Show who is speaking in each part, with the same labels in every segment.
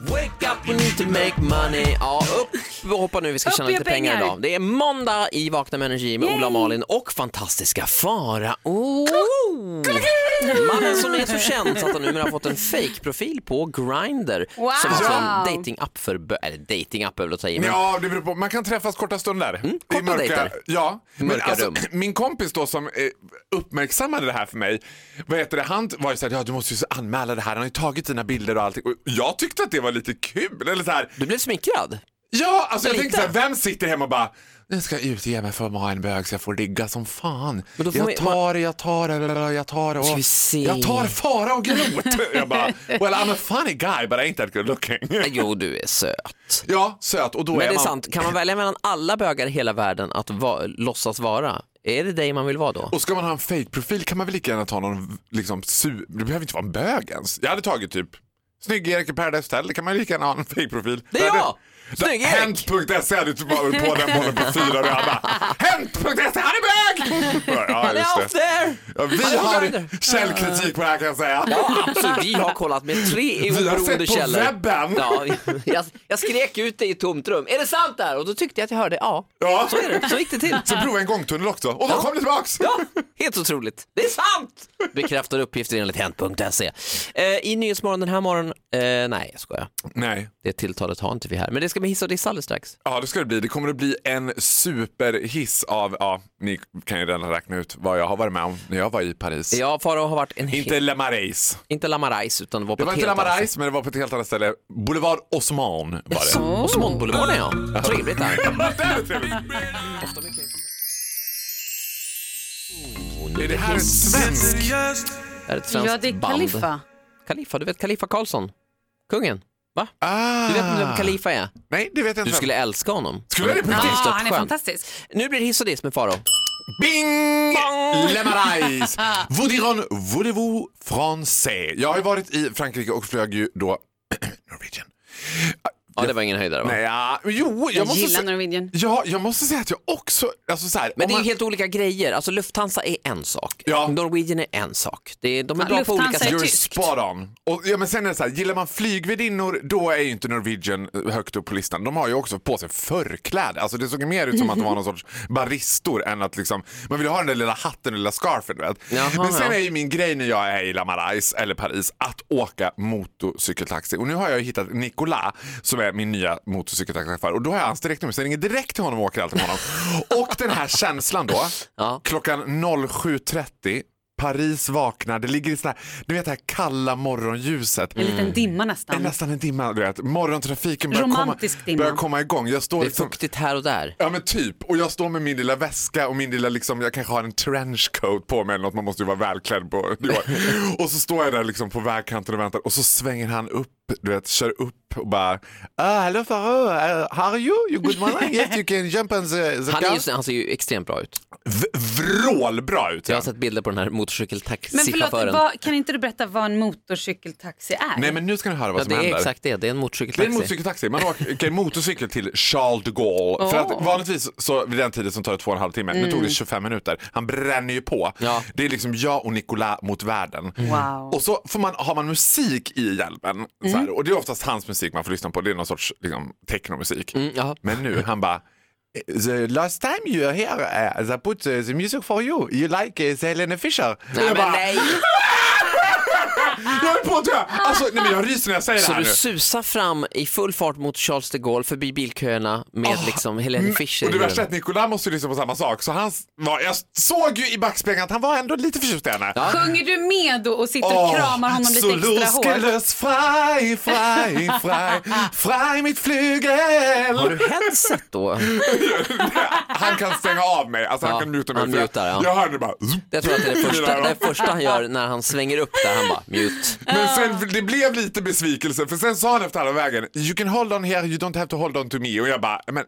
Speaker 1: Wake up, we need to make money. Ja, upp och hoppa nu, vi ska
Speaker 2: Upp
Speaker 1: tjäna
Speaker 2: och
Speaker 1: lite
Speaker 2: gör
Speaker 1: pengar.
Speaker 2: pengar.
Speaker 1: idag. Det är måndag i Vakna med energi med
Speaker 2: Yay.
Speaker 1: Ola och Malin och fantastiska Farao. Mannen som är så känd så att han numera har fått en fake-profil på Grindr.
Speaker 2: Wow.
Speaker 1: Som alltså
Speaker 2: Ja.
Speaker 1: är en dating-app för bö- eller dating-app är väl att ta i, men
Speaker 3: Mm. Ja, det beror på. Man kan träffas korta stunder. I
Speaker 1: Mm. korta dejter.
Speaker 3: Ja. Men alltså,
Speaker 1: mörka rum.
Speaker 3: Min kompis då som eh, uppmärksammade det här för mig, vad heter det, han var ju såhär, ja du måste ju så anmäla det här, han har ju tagit dina bilder och allting. Och jag tyckte att det var lite kul. Eller så här,
Speaker 1: du blev smickrad.
Speaker 3: ja, alltså jag
Speaker 1: Lite.
Speaker 3: tänkte såhär, vem sitter hemma och bara, nu ska jag utge mig för att vara en bög så jag får ligga som fan.
Speaker 1: Men då får man-
Speaker 3: jag tar det, jag tar det, jag tar det.
Speaker 1: Ska
Speaker 3: Och,
Speaker 1: vi se.
Speaker 3: jag tar fara och grot. jag bara, well I'm a funny guy but I ain't that good looking.
Speaker 1: Jo, du är söt.
Speaker 3: ja, söt. Och då
Speaker 1: Men
Speaker 3: är
Speaker 1: det är
Speaker 3: man...
Speaker 1: sant, kan man välja mellan alla bögar i hela världen att va- låtsas vara? Är det dig man vill vara då?
Speaker 3: Och ska man ha en fake-profil kan man väl lika gärna ta någon liksom su- Det behöver inte vara en bög ens. Jag hade tagit typ Snygg Erik i Paradise Hotel, det kan man ju lika gärna ha en fake-profil.
Speaker 1: Det är jag! Snygg Erik!
Speaker 3: Hent.se hade typ bara på den bollen på fyra och alla Hent.se, E, han är bög! Ja,
Speaker 1: Han är
Speaker 3: just
Speaker 1: off
Speaker 3: det.
Speaker 1: there!
Speaker 3: Ja, vi
Speaker 1: Han är
Speaker 3: har
Speaker 1: bög.
Speaker 3: källkritik på det här kan jag säga.
Speaker 1: Ja, absolut. Vi har kollat med tre
Speaker 3: har
Speaker 1: oberoende
Speaker 3: sett på
Speaker 1: källor.
Speaker 3: webben.
Speaker 1: Ja, jag, jag skrek ut det i ett tomt rum. Är det sant där? Och då tyckte jag att jag hörde ja.
Speaker 3: Ja.
Speaker 1: Så är det. Så gick det till.
Speaker 3: Så prova en gångtunnel också. Och då kom det tillbaks!
Speaker 1: Ja, helt otroligt. Det är sant! Bekräftar uppgifter enligt Hent.se. Eh, I Nyhetsmorgon den här morgonen, eh, nej jag skojar.
Speaker 3: Nej.
Speaker 1: Det tilltalet har inte vi här. Men det ska bli hiss och diss alldeles strax.
Speaker 3: Ja, det ska det bli. Det kommer att bli en superhiss av, ja, ni kan ju redan räkna ut vad jag har varit med om när jag var i Paris.
Speaker 1: Ja, Farao har varit en he-
Speaker 3: Inte Le Marais.
Speaker 1: inte Lamarajs utan det var på
Speaker 3: Det var
Speaker 1: ett
Speaker 3: inte La
Speaker 1: helt annat
Speaker 3: Marais, men det var på ett helt annat ställe. Boulevard Osman var
Speaker 1: sätt.
Speaker 3: det.
Speaker 1: Osmanboulevarden ja. Trevligt där.
Speaker 3: Är det här en svensk?
Speaker 1: Det här är ett svenskt
Speaker 2: Ja, det är
Speaker 1: band.
Speaker 2: Kaliffa.
Speaker 1: Kaliffa, du vet Kaliffa Karlsson? Kungen? Va?
Speaker 3: Ah.
Speaker 1: Du vet inte vem Khalifa är?
Speaker 3: Nej, det vet jag inte.
Speaker 1: Du skulle älska honom.
Speaker 3: Skulle jag det på
Speaker 1: Han är
Speaker 3: riktigt?
Speaker 2: Ja,
Speaker 1: stört
Speaker 2: han är
Speaker 1: skön.
Speaker 2: fantastisk.
Speaker 1: Nu blir det hiss och diss med Faro.
Speaker 3: Bing! Le Marais. Vous dirons, voulez-vous français? Jag har ju varit i Frankrike och flög ju då Norwegian.
Speaker 1: Ja, det var ingen höjdare va?
Speaker 3: Nej, ja, men jo, jag,
Speaker 2: Jag,
Speaker 3: måste
Speaker 2: gillar
Speaker 3: säga,
Speaker 2: Norwegian.
Speaker 3: ja, jag måste säga att jag också, alltså så här,
Speaker 1: Men
Speaker 3: om
Speaker 1: det är
Speaker 3: man-
Speaker 1: ju helt olika grejer. Alltså Lufthansa är en sak,
Speaker 3: Ja.
Speaker 1: Norwegian är en sak. Det är, de är
Speaker 2: Ja,
Speaker 1: bra på
Speaker 2: Lufthansa
Speaker 1: olika
Speaker 2: är
Speaker 1: sätt.
Speaker 3: You're
Speaker 2: tyskt.
Speaker 3: spot on. Och, ja, men sen är det så här, gillar man flygvärdinnor då är ju inte Norwegian högt upp på listan. De har ju också på sig förkläde. Alltså, det såg ju mer ut som att de var någon sorts baristor än att liksom, man vill ju ha den där lilla hatten och lilla scarfen. Du vet.
Speaker 1: Jaha,
Speaker 3: men sen
Speaker 1: ja.
Speaker 3: är ju min grej när jag är i La Marais eller Paris att åka motorcykeltaxi. Och nu har jag ju hittat Nicolas som är min nya motorcykeltaxichaufför och då har jag hans direktnummer så jag ringer direkt till honom och åker alltid med honom. och den här känslan då,
Speaker 1: Ja.
Speaker 3: klockan 07.30 Paris vaknar, det ligger i sån här, du vet det här kalla morgonljuset.
Speaker 1: Mm.
Speaker 2: En liten dimma
Speaker 3: Det är
Speaker 2: nästan.
Speaker 3: nästan en dimma, du vet. Morgontrafiken börjar komma,
Speaker 2: Romantisk dimma.
Speaker 3: börjar komma igång. Jag står
Speaker 1: Det är
Speaker 3: liksom,
Speaker 1: fuktigt här och där.
Speaker 3: ja men typ, och jag står med min lilla väska och min lilla liksom, jag kanske har en trenchcoat på mig eller något, man måste ju vara välklädd på nivå. Och så står jag där liksom på vägkanten och väntar och så svänger han upp, du vet, kör upp och bara ah, hello Farao, uh, how are you? You good morning? Yes you can jump on the, the
Speaker 1: Han, är
Speaker 3: car."
Speaker 1: just, han ser ju extremt bra ut.
Speaker 3: V- Vrålbra ut!
Speaker 1: Jag
Speaker 3: ja.
Speaker 1: har sett bilder på den här
Speaker 2: Men förlåt,
Speaker 1: motorcykeltaxichauffören.
Speaker 2: vad, kan inte du berätta vad en motorcykeltaxi är?
Speaker 3: Nej men nu ska ni höra vad
Speaker 1: Ja,
Speaker 3: som
Speaker 1: det
Speaker 3: händer.
Speaker 1: är exakt det, det är en
Speaker 3: Det är en
Speaker 1: motorcykeltaxi.
Speaker 3: motorcykeltaxi. Man åker motorcykel till Charles de Gaulle. För att vanligtvis så vid den tiden som tar det två och en halv timme, nu tog det 25 minuter. Han bränner ju på.
Speaker 1: Mm. Ja. Mm.
Speaker 3: Det är liksom jag och Nicolas mot världen.
Speaker 2: Wow.
Speaker 3: Och så får man, har man musik i hjälmen. Så
Speaker 1: Mm.
Speaker 3: här, och det är oftast hans musik man får lyssna på. Det är någon sorts liksom, technomusik.
Speaker 1: Mm, jaha.
Speaker 3: Men nu, han bara "Eh, The last time you are here, uh, I put uh, the music for you. You like uh, Helene Fischer.
Speaker 1: Nej,
Speaker 3: jag
Speaker 1: men
Speaker 3: bara,
Speaker 1: nej.
Speaker 3: jag höll på att dö! Alltså, nej, men jag ryser när jag säger
Speaker 1: Så
Speaker 3: det här
Speaker 1: du
Speaker 3: nu.
Speaker 1: susar fram i full fart mot Charles de Gaulle förbi bilköerna med liksom Helene
Speaker 3: Mm,
Speaker 1: Fischer
Speaker 3: Och
Speaker 1: i
Speaker 3: det värsta är
Speaker 1: röven.
Speaker 3: att Nicolas måste ju lyssna på samma sak. Så han var, jag såg ju i backspegeln att han var ändå lite förtjust i henne. Ja.
Speaker 2: Sjunger du med då och sitter och kramar honom lite extra hårt?
Speaker 3: Soloskelös fry, fry, fry, fry mitt
Speaker 1: Har
Speaker 3: flygel.
Speaker 1: du headset då?
Speaker 3: Han kan stänga av mig, alltså
Speaker 1: Ja,
Speaker 3: han kan muta mig.
Speaker 1: han
Speaker 3: för jag-
Speaker 1: mutar, ja.
Speaker 3: Jag hör nu bara... zup.
Speaker 1: Jag tror att det är det första, det är det första han gör när han svänger upp där, han bara mute.
Speaker 3: Men sen, det blev lite besvikelse, för sen sa han efter halva vägen, you can hold on here, you don't have to hold on to me. Och jag bara, men, eh,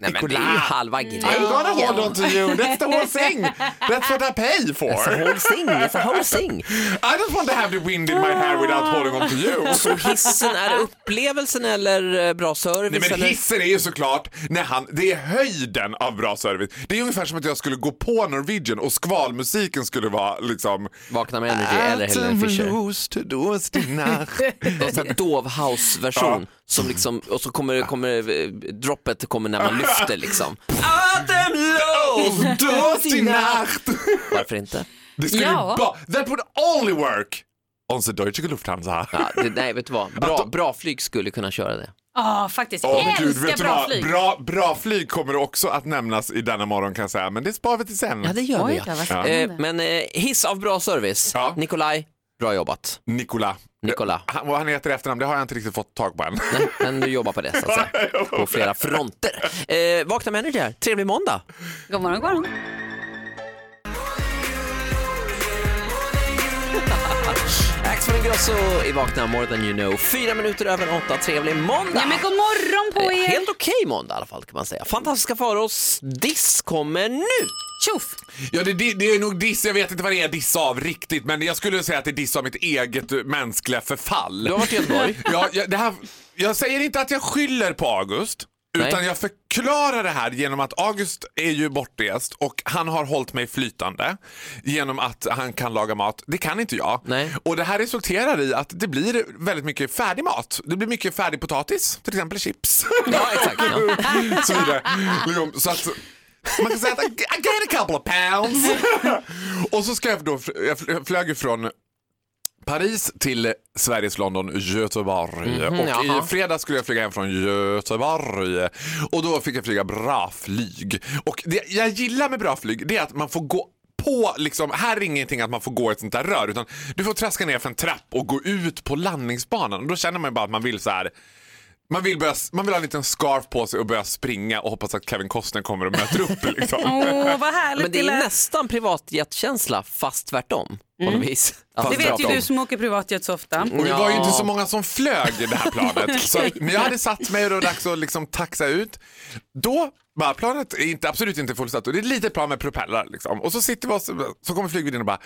Speaker 1: Nej men det är ju halva
Speaker 3: I'm
Speaker 1: grejen.
Speaker 3: gonna hold on to you, that's the whole thing. That's what I pay for.
Speaker 1: It's a whole thing, it's a whole thing.
Speaker 3: I just want to have the wind in my hair without holding on to you.
Speaker 1: Så hissen, är det upplevelsen eller eh, bra service?
Speaker 3: Nej, men
Speaker 1: eller?
Speaker 3: hissen är ju såklart, när han, det är höjden av bra service. Det är ungefär som att jag skulle gå på Norwegian och skvalmusiken skulle vara liksom...
Speaker 1: Vakna med energi eller Helene Fischer.
Speaker 3: Prost, du hast die Nacht.
Speaker 1: Det är en sån här Dovhouse-version. Som liksom, och så kommer, kommer eh, droppet kommer när man lyfter liksom. Adam Lowe!
Speaker 3: Du hast die Nacht.
Speaker 1: Varför inte?
Speaker 3: Det skulle
Speaker 2: Ja.
Speaker 3: ju bara, that would only work on the Deutsche Lufthansa.
Speaker 1: Ja, det, nej, vet du vad? Bra, bra flyg skulle kunna köra det.
Speaker 2: Ja, faktiskt.
Speaker 3: Åh,
Speaker 2: jag
Speaker 3: gud, vet
Speaker 2: älskar
Speaker 3: du
Speaker 2: bra
Speaker 3: vad?
Speaker 2: flyg.
Speaker 3: Bra, bra flyg kommer också att nämnas i denna morgon kan jag säga, men det sparar vi till sen.
Speaker 1: Ja, det gör vi.
Speaker 2: Oj,
Speaker 1: ja.
Speaker 2: vad
Speaker 1: Eh,
Speaker 2: spännande.
Speaker 1: men eh, hiss av bra service.
Speaker 3: Ja.
Speaker 1: Nikolaj, bra jobbat.
Speaker 3: Nikola. Eh,
Speaker 1: Nikola.
Speaker 3: Han, vad han heter i efternamn, det har jag inte riktigt fått tag på än.
Speaker 1: Nej, men du jobbar på det så att säga. På flera fronter. Eh, vakna med energy här. Trevlig måndag.
Speaker 2: God morgon, god morgon.
Speaker 1: Axel Ingrosso i Vakna More than you know. Fyra minuter över åtta. Trevlig måndag.
Speaker 2: Ja, men god morgon på
Speaker 1: Eh,
Speaker 2: er.
Speaker 1: Helt okej måndag i alla fall kan man säga. Fantastiska Faros diss kommer nu.
Speaker 2: Tjoff!
Speaker 3: Ja, det, det, det är nog diss. Jag vet inte vad det är diss av riktigt, men jag skulle säga att det är diss av mitt eget eh, mänskliga förfall.
Speaker 1: Du har varit i Göteborg.
Speaker 3: Ja, jag, det här, jag säger inte att jag skyller på August.
Speaker 1: Nej.
Speaker 3: Utan jag förklarar det här genom att August är ju bortrest och han har hållit mig flytande genom att han kan laga mat. Det kan inte jag.
Speaker 1: Nej.
Speaker 3: Och det här resulterar i att det blir väldigt mycket färdig mat. Det blir mycket färdig potatis, till exempel chips.
Speaker 1: Ja, exakt. Ja.
Speaker 3: så vidare. Liksom, så att, man kan säga att I I gained a couple of pounds. och så ska jag då, jag fl- jag flög ju från Paris till Sveriges London, Göteborg. och
Speaker 1: jaha.
Speaker 3: i fredags skulle jag flyga hem från Göteborg. Och då fick jag flyga bra flyg. Och det jag gillar med bra flyg, det är att man får gå på, liksom, här är ingenting att man får gå i ett sånt där rör utan du får traska ner för en trapp och gå ut på landningsbanan. Och då känner man ju bara att man vill så här man vill, börja, man vill ha en liten scarf på sig och börja springa och hoppas att Kevin Costner kommer och möter upp. Liksom.
Speaker 2: Åh, vad härligt
Speaker 1: Men det är
Speaker 2: lät.
Speaker 1: nästan privatjetkänsla fast tvärtom på något vis.
Speaker 2: Mm. Det
Speaker 1: Fast
Speaker 2: vet ju
Speaker 1: tvärtom.
Speaker 2: du som åker privatjet så ofta.
Speaker 3: Och det var ju
Speaker 1: Ja.
Speaker 3: inte så många som flög i det här planet. Så, men jag hade satt mig och det var dags att liksom taxa ut. Då, bara, planet är inte, absolut inte fullsatt och det är ett litet plan med propellrar. Liksom. Och så sitter vi och så, så kommer flygvärdinnan och bara,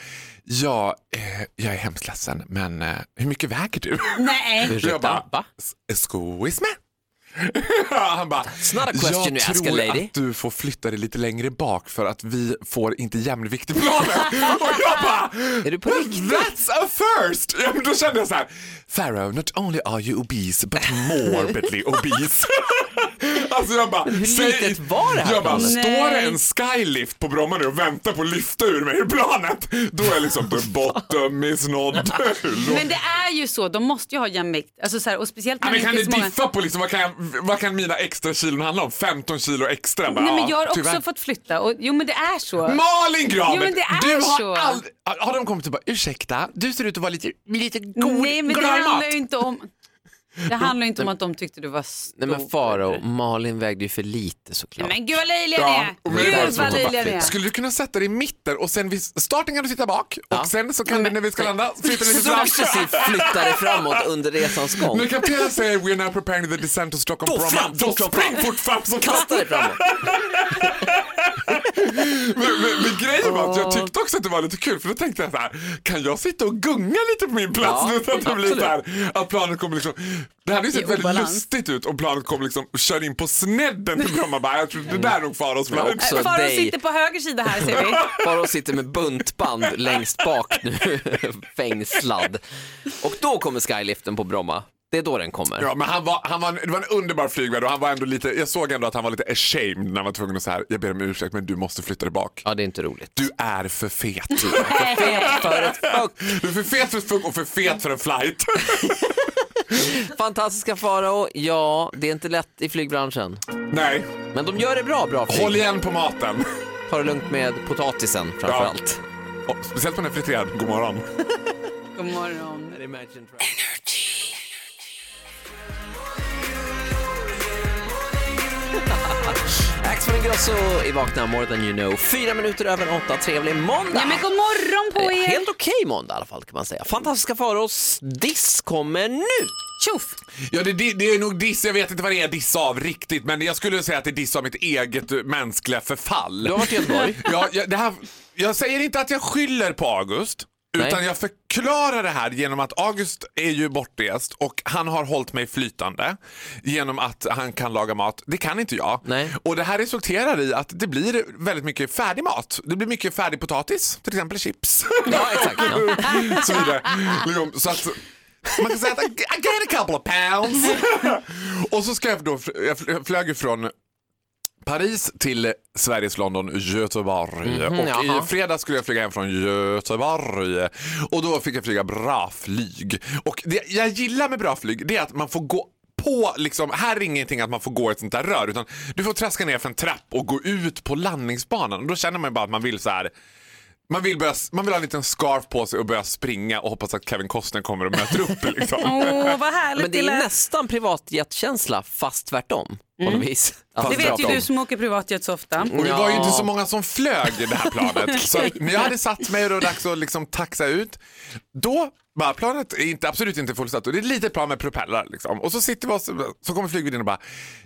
Speaker 3: ja, eh, jag är hemskt ledsen men eh, hur mycket väger du?
Speaker 2: Nej.
Speaker 1: Ursäkta,
Speaker 3: Jag bara,
Speaker 1: va?
Speaker 3: Excuse me? Han bara,
Speaker 1: not a question you ask
Speaker 3: jag
Speaker 1: a
Speaker 3: tror
Speaker 1: lady."
Speaker 3: att du får flytta dig lite längre bak för att vi får inte jämvikt i planen. Och jag bara,
Speaker 1: Är du på
Speaker 3: "Well,
Speaker 1: riktigt?"
Speaker 3: That's a first! Ja, men då kände jag så här, Pharaoh, not only are you obese but morbidly obese. alltså jag bara,
Speaker 1: hur
Speaker 3: "Säg-
Speaker 1: litet var det här
Speaker 3: Jag bara,
Speaker 1: planet?
Speaker 3: står det
Speaker 2: Nej.
Speaker 3: en skylift på Bromma nu och väntar på att lyfta ur mig ur planet, då är liksom the bottom is not
Speaker 2: Men det är ju så, de måste ju ha jämvikt. Alltså så här, och speciellt
Speaker 3: Ja,
Speaker 2: när
Speaker 3: men
Speaker 2: det
Speaker 3: kan
Speaker 2: inte
Speaker 3: du
Speaker 2: är så många.
Speaker 3: diffa på liksom, vad, kan jag, vad kan mina extra kilon handla om? 15 kilo extra? Bara,
Speaker 2: Nej, men jag
Speaker 3: ja,
Speaker 2: har också
Speaker 3: tyvärr.
Speaker 2: fått flytta. Och, jo men det är så.
Speaker 3: Malin Gramer!
Speaker 2: Jo, men det är
Speaker 3: du har
Speaker 2: så.
Speaker 3: aldrig... Har- Har de kommit och bara ursäkta, du ser ut att vara lite, lite god,
Speaker 2: Nej men det
Speaker 3: glad mat.
Speaker 2: handlar ju inte om... Det handlar ju inte om att de tyckte du var stor.
Speaker 1: Nej men Faro, Malin vägde ju för lite såklart.
Speaker 2: Men gud vad löjliga ni
Speaker 3: Ja,
Speaker 2: är.
Speaker 3: och
Speaker 1: det är
Speaker 2: Gud
Speaker 1: så
Speaker 2: vad löjliga ni är.
Speaker 1: författligt.
Speaker 3: Skulle du kunna sätta dig i mitten och sen vid starten kan du sitta bak och sen så kan du när vi ska landa flytta lite fram.
Speaker 1: Successivt flyttade framåt under resans gång.
Speaker 3: När kaptenen säger we're now preparing the descent to Stockholm
Speaker 1: Då
Speaker 3: Bromma,
Speaker 1: fram,
Speaker 3: då
Speaker 1: fort som
Speaker 3: spring
Speaker 1: fan.
Speaker 3: fort fram som
Speaker 1: Kasta dig framåt.
Speaker 3: Men, men, men grejen var att jag tyckte också att det var lite kul för då tänkte jag så här, kan jag sitta och gunga lite på min plats
Speaker 1: Ja,
Speaker 3: nu så att det blir
Speaker 1: absolut.
Speaker 3: så här, att planet kommer liksom, det hade ju
Speaker 2: I
Speaker 3: sett väldigt
Speaker 2: obalans.
Speaker 3: lustigt ut om planet kom liksom, kör in på snedden till Bromma bara, jag tror det där är nog Faraos plan.
Speaker 1: Ja, också. Så
Speaker 2: Farao
Speaker 1: dig.
Speaker 2: sitter på höger sida här ser vi.
Speaker 1: Faro sitter med buntband längst bak nu, fängslad. Och då kommer skyliften på Bromma. Det är då den kommer.
Speaker 3: Ja, men han var, han var, en- det var en underbar flygvärd och han var ändå lite, jag såg ändå att han var lite ashamed när han var tvungen att säga jag ber om ursäkt men du måste flytta dig bak.
Speaker 1: Ja, det är inte roligt.
Speaker 3: Du är för fet.
Speaker 1: För ett fuck.
Speaker 3: Du är för fet för ett funk och för fet för en flight.
Speaker 1: Fantastiska Farao, ja, det är inte lätt i flygbranschen.
Speaker 3: Nej,
Speaker 1: Men de gör det bra, bra flyg.
Speaker 3: håll igen på maten.
Speaker 1: Ta det lugnt med potatisen framför
Speaker 3: Ja.
Speaker 1: allt.
Speaker 3: Och, speciellt om den är friterad, god morgon.
Speaker 2: God morgon.
Speaker 1: Axel Ingrosso i Vakna More than you know. Fyra minuter över åtta, trevlig måndag.
Speaker 2: Ja men god morgon på
Speaker 1: Eh,
Speaker 2: er.
Speaker 1: Helt okej måndag i alla fall kan man säga. Fantastiska Faros diss kommer nu.
Speaker 2: Tjoff!
Speaker 3: Ja, det, det, det är nog diss. Jag vet inte vad det är diss av riktigt, men jag skulle säga att det är diss av mitt eget eh, mänskliga förfall.
Speaker 1: Du har varit i Göteborg.
Speaker 3: ja, jag, det här, jag säger inte att jag skyller på August.
Speaker 1: Nej.
Speaker 3: Utan jag förklarar det här genom att August är ju bortrest och han har hållit mig flytande genom att han kan laga mat. Det kan inte jag.
Speaker 1: Nej.
Speaker 3: Och det här resulterar i att det blir väldigt mycket färdig mat. Det blir mycket färdig potatis, till exempel chips.
Speaker 1: Ja, exakt. Ja.
Speaker 3: så vidare. Liksom, så att man kan säga att I I gained a couple of pounds. och så ska jag då, jag fl- jag flög ifrån Paris till Sveriges London, Göteborg. och
Speaker 1: jaha.
Speaker 3: i fredags skulle jag flyga hem från Göteborg. Och då fick jag flyga bra flyg. Och det jag gillar med bra flyg, det är att man får gå på, liksom, här är ingenting att man får gå i ett sånt där rör utan du får traska ner för en trapp och gå ut på landningsbanan. Och då känner man ju bara att man vill så här man vill, börja, man vill ha en liten scarf på sig och börja springa och hoppas att Kevin Costner kommer och möter upp. Liksom.
Speaker 2: Åh, vad härligt
Speaker 1: Men det är
Speaker 2: lät.
Speaker 1: nästan privatjetkänsla fast tvärtom på något vis.
Speaker 2: Det
Speaker 1: Alltså,
Speaker 2: vet ju
Speaker 1: tvärtom.
Speaker 2: du som åker privatjet så ofta.
Speaker 3: Och vi var ju
Speaker 1: Ja.
Speaker 3: inte så många som flög i det här planet. Så att när jag hade satt mig och det var dags att liksom taxa ut, då bara, planet är inte, absolut inte fullsatt och det är ett litet plan med propellrar. Liksom. Och så sitter vi oss, så kommer flygvärdinnan och bara,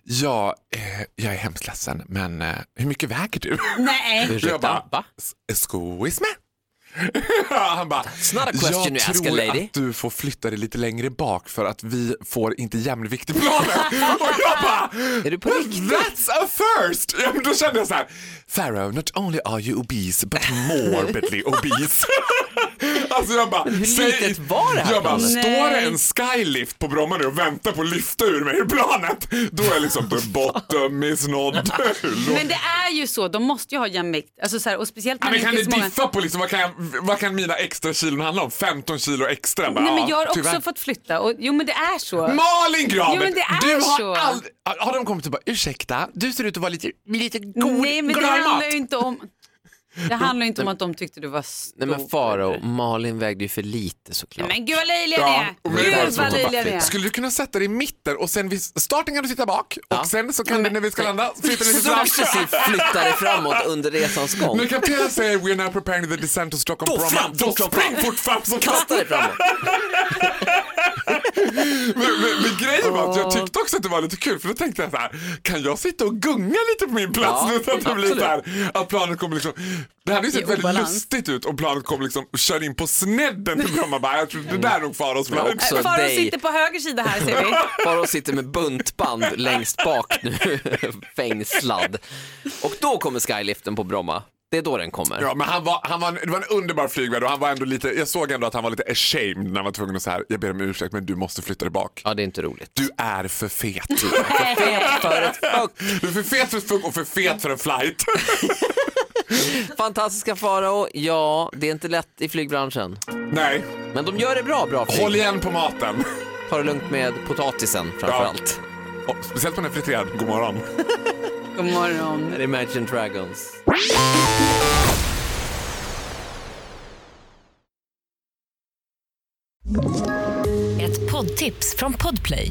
Speaker 3: ja, eh, jag är hemskt ledsen, men eh, hur mycket väger du?
Speaker 2: Nej.
Speaker 3: Så jag bara,
Speaker 1: Va?
Speaker 3: Excuse me? Han bara,
Speaker 1: not a question you
Speaker 3: jag
Speaker 1: ask a
Speaker 3: tror
Speaker 1: lady."
Speaker 3: att du får flytta dig lite längre bak för att vi får inte jämvikt i planen. Och jag bara,
Speaker 1: Är du på
Speaker 3: "Well,
Speaker 1: riktigt?"
Speaker 3: That's a first! Ja, men då kände jag så här, Pharaoh, not only are you obese but morbidly obese. Alltså jag bara,
Speaker 1: hur
Speaker 3: "Säg-
Speaker 1: litet var det här
Speaker 3: Jag bara,
Speaker 1: planet?
Speaker 3: står det
Speaker 2: Nej.
Speaker 3: en skylift på Bromma nu och väntar på att lyfta ur mig ur planet, då är liksom the bottom is not
Speaker 2: Men det är ju så, de måste ju ha jämvikt. Alltså så här, och speciellt
Speaker 3: Ja,
Speaker 2: när
Speaker 3: men kan
Speaker 2: det
Speaker 3: ni
Speaker 2: inte är så många.
Speaker 3: diffa på liksom, vad, kan jag, vad kan mina extra kilon handla om? 15 kilo extra? Bara,
Speaker 2: Nej, men jag har
Speaker 3: ja,
Speaker 2: också
Speaker 3: tyvärr.
Speaker 2: fått flytta. Och, jo men det är så.
Speaker 3: Malin Graber!
Speaker 2: Jo, men det är
Speaker 3: du har
Speaker 2: så.
Speaker 3: aldrig... Har- Har de kommit och bara ursäkta, du ser ut att vara lite, lite god,
Speaker 2: Nej men det
Speaker 3: glad i mat.
Speaker 2: handlar ju inte om... Det handlar ju inte om att de tyckte du var stor.
Speaker 1: Nej men Faro, Malin vägde ju för lite såklart.
Speaker 2: Men gud vad löjliga ni
Speaker 3: Ja,
Speaker 2: är.
Speaker 3: och
Speaker 1: det
Speaker 3: mig var det
Speaker 2: Gud
Speaker 3: så
Speaker 2: vad löjliga ni
Speaker 1: fattigt.
Speaker 2: är.
Speaker 3: Skulle du kunna sätta dig i mitten och sen vid starten kan du sitta bak
Speaker 1: Ja.
Speaker 3: och sen så kan du när vi ska landa flytta dig lite
Speaker 1: Så
Speaker 3: fram.
Speaker 1: successivt flyttar det framåt under resans gång.
Speaker 3: Nu kan Pia säga we're now preparing the descent to Stockholm
Speaker 1: Då
Speaker 3: Bromma.
Speaker 1: fram,
Speaker 3: Då
Speaker 1: fort som
Speaker 3: spring
Speaker 1: fan.
Speaker 3: fort fram som
Speaker 1: Kasta dig framåt.
Speaker 3: Men, men, men grejen var att jag tyckte också att det var lite kul för då tänkte jag så här, kan jag sitta och gunga lite på min plats
Speaker 1: Ja,
Speaker 3: nu så att det blir
Speaker 1: absolut.
Speaker 3: så här, att planet kommer liksom, det hade ju
Speaker 2: I
Speaker 3: sett väldigt
Speaker 2: obalans.
Speaker 3: lustigt ut om planet kom liksom och kör in på snedden till Bromma bara, jag tror det där är nog Faros plan.
Speaker 1: Men också-
Speaker 2: Äh, Farao
Speaker 1: dig.
Speaker 2: sitter på höger sida här ser vi.
Speaker 1: Faro sitter med buntband längst bak nu, fängslad. Och då kommer skyliften på Bromma. Det är då den kommer.
Speaker 3: Ja, men han var, han var en, det var en underbar flygvärd och han var ändå lite, jag såg ändå att han var lite ashamed när han var tvungen att säga jag ber om ursäkt men du måste flytta dig bak.
Speaker 1: Ja, det är inte roligt.
Speaker 3: Du är för fet.
Speaker 1: För ett fuck.
Speaker 3: Du är för fet för ett fuck och för fet för en flight.
Speaker 1: Fantastiska Farao, ja, det är inte lätt i flygbranschen.
Speaker 3: Nej,
Speaker 1: Men de gör det bra, bra
Speaker 3: håll
Speaker 1: flyg.
Speaker 3: igen på maten.
Speaker 1: Ta det lugnt med potatisen framför
Speaker 3: Ja.
Speaker 1: allt.
Speaker 3: Och speciellt på den är friterad, god morgon.
Speaker 2: God morgon.
Speaker 1: Här är Imagine Dragons.
Speaker 4: Ett poddtips från Podplay.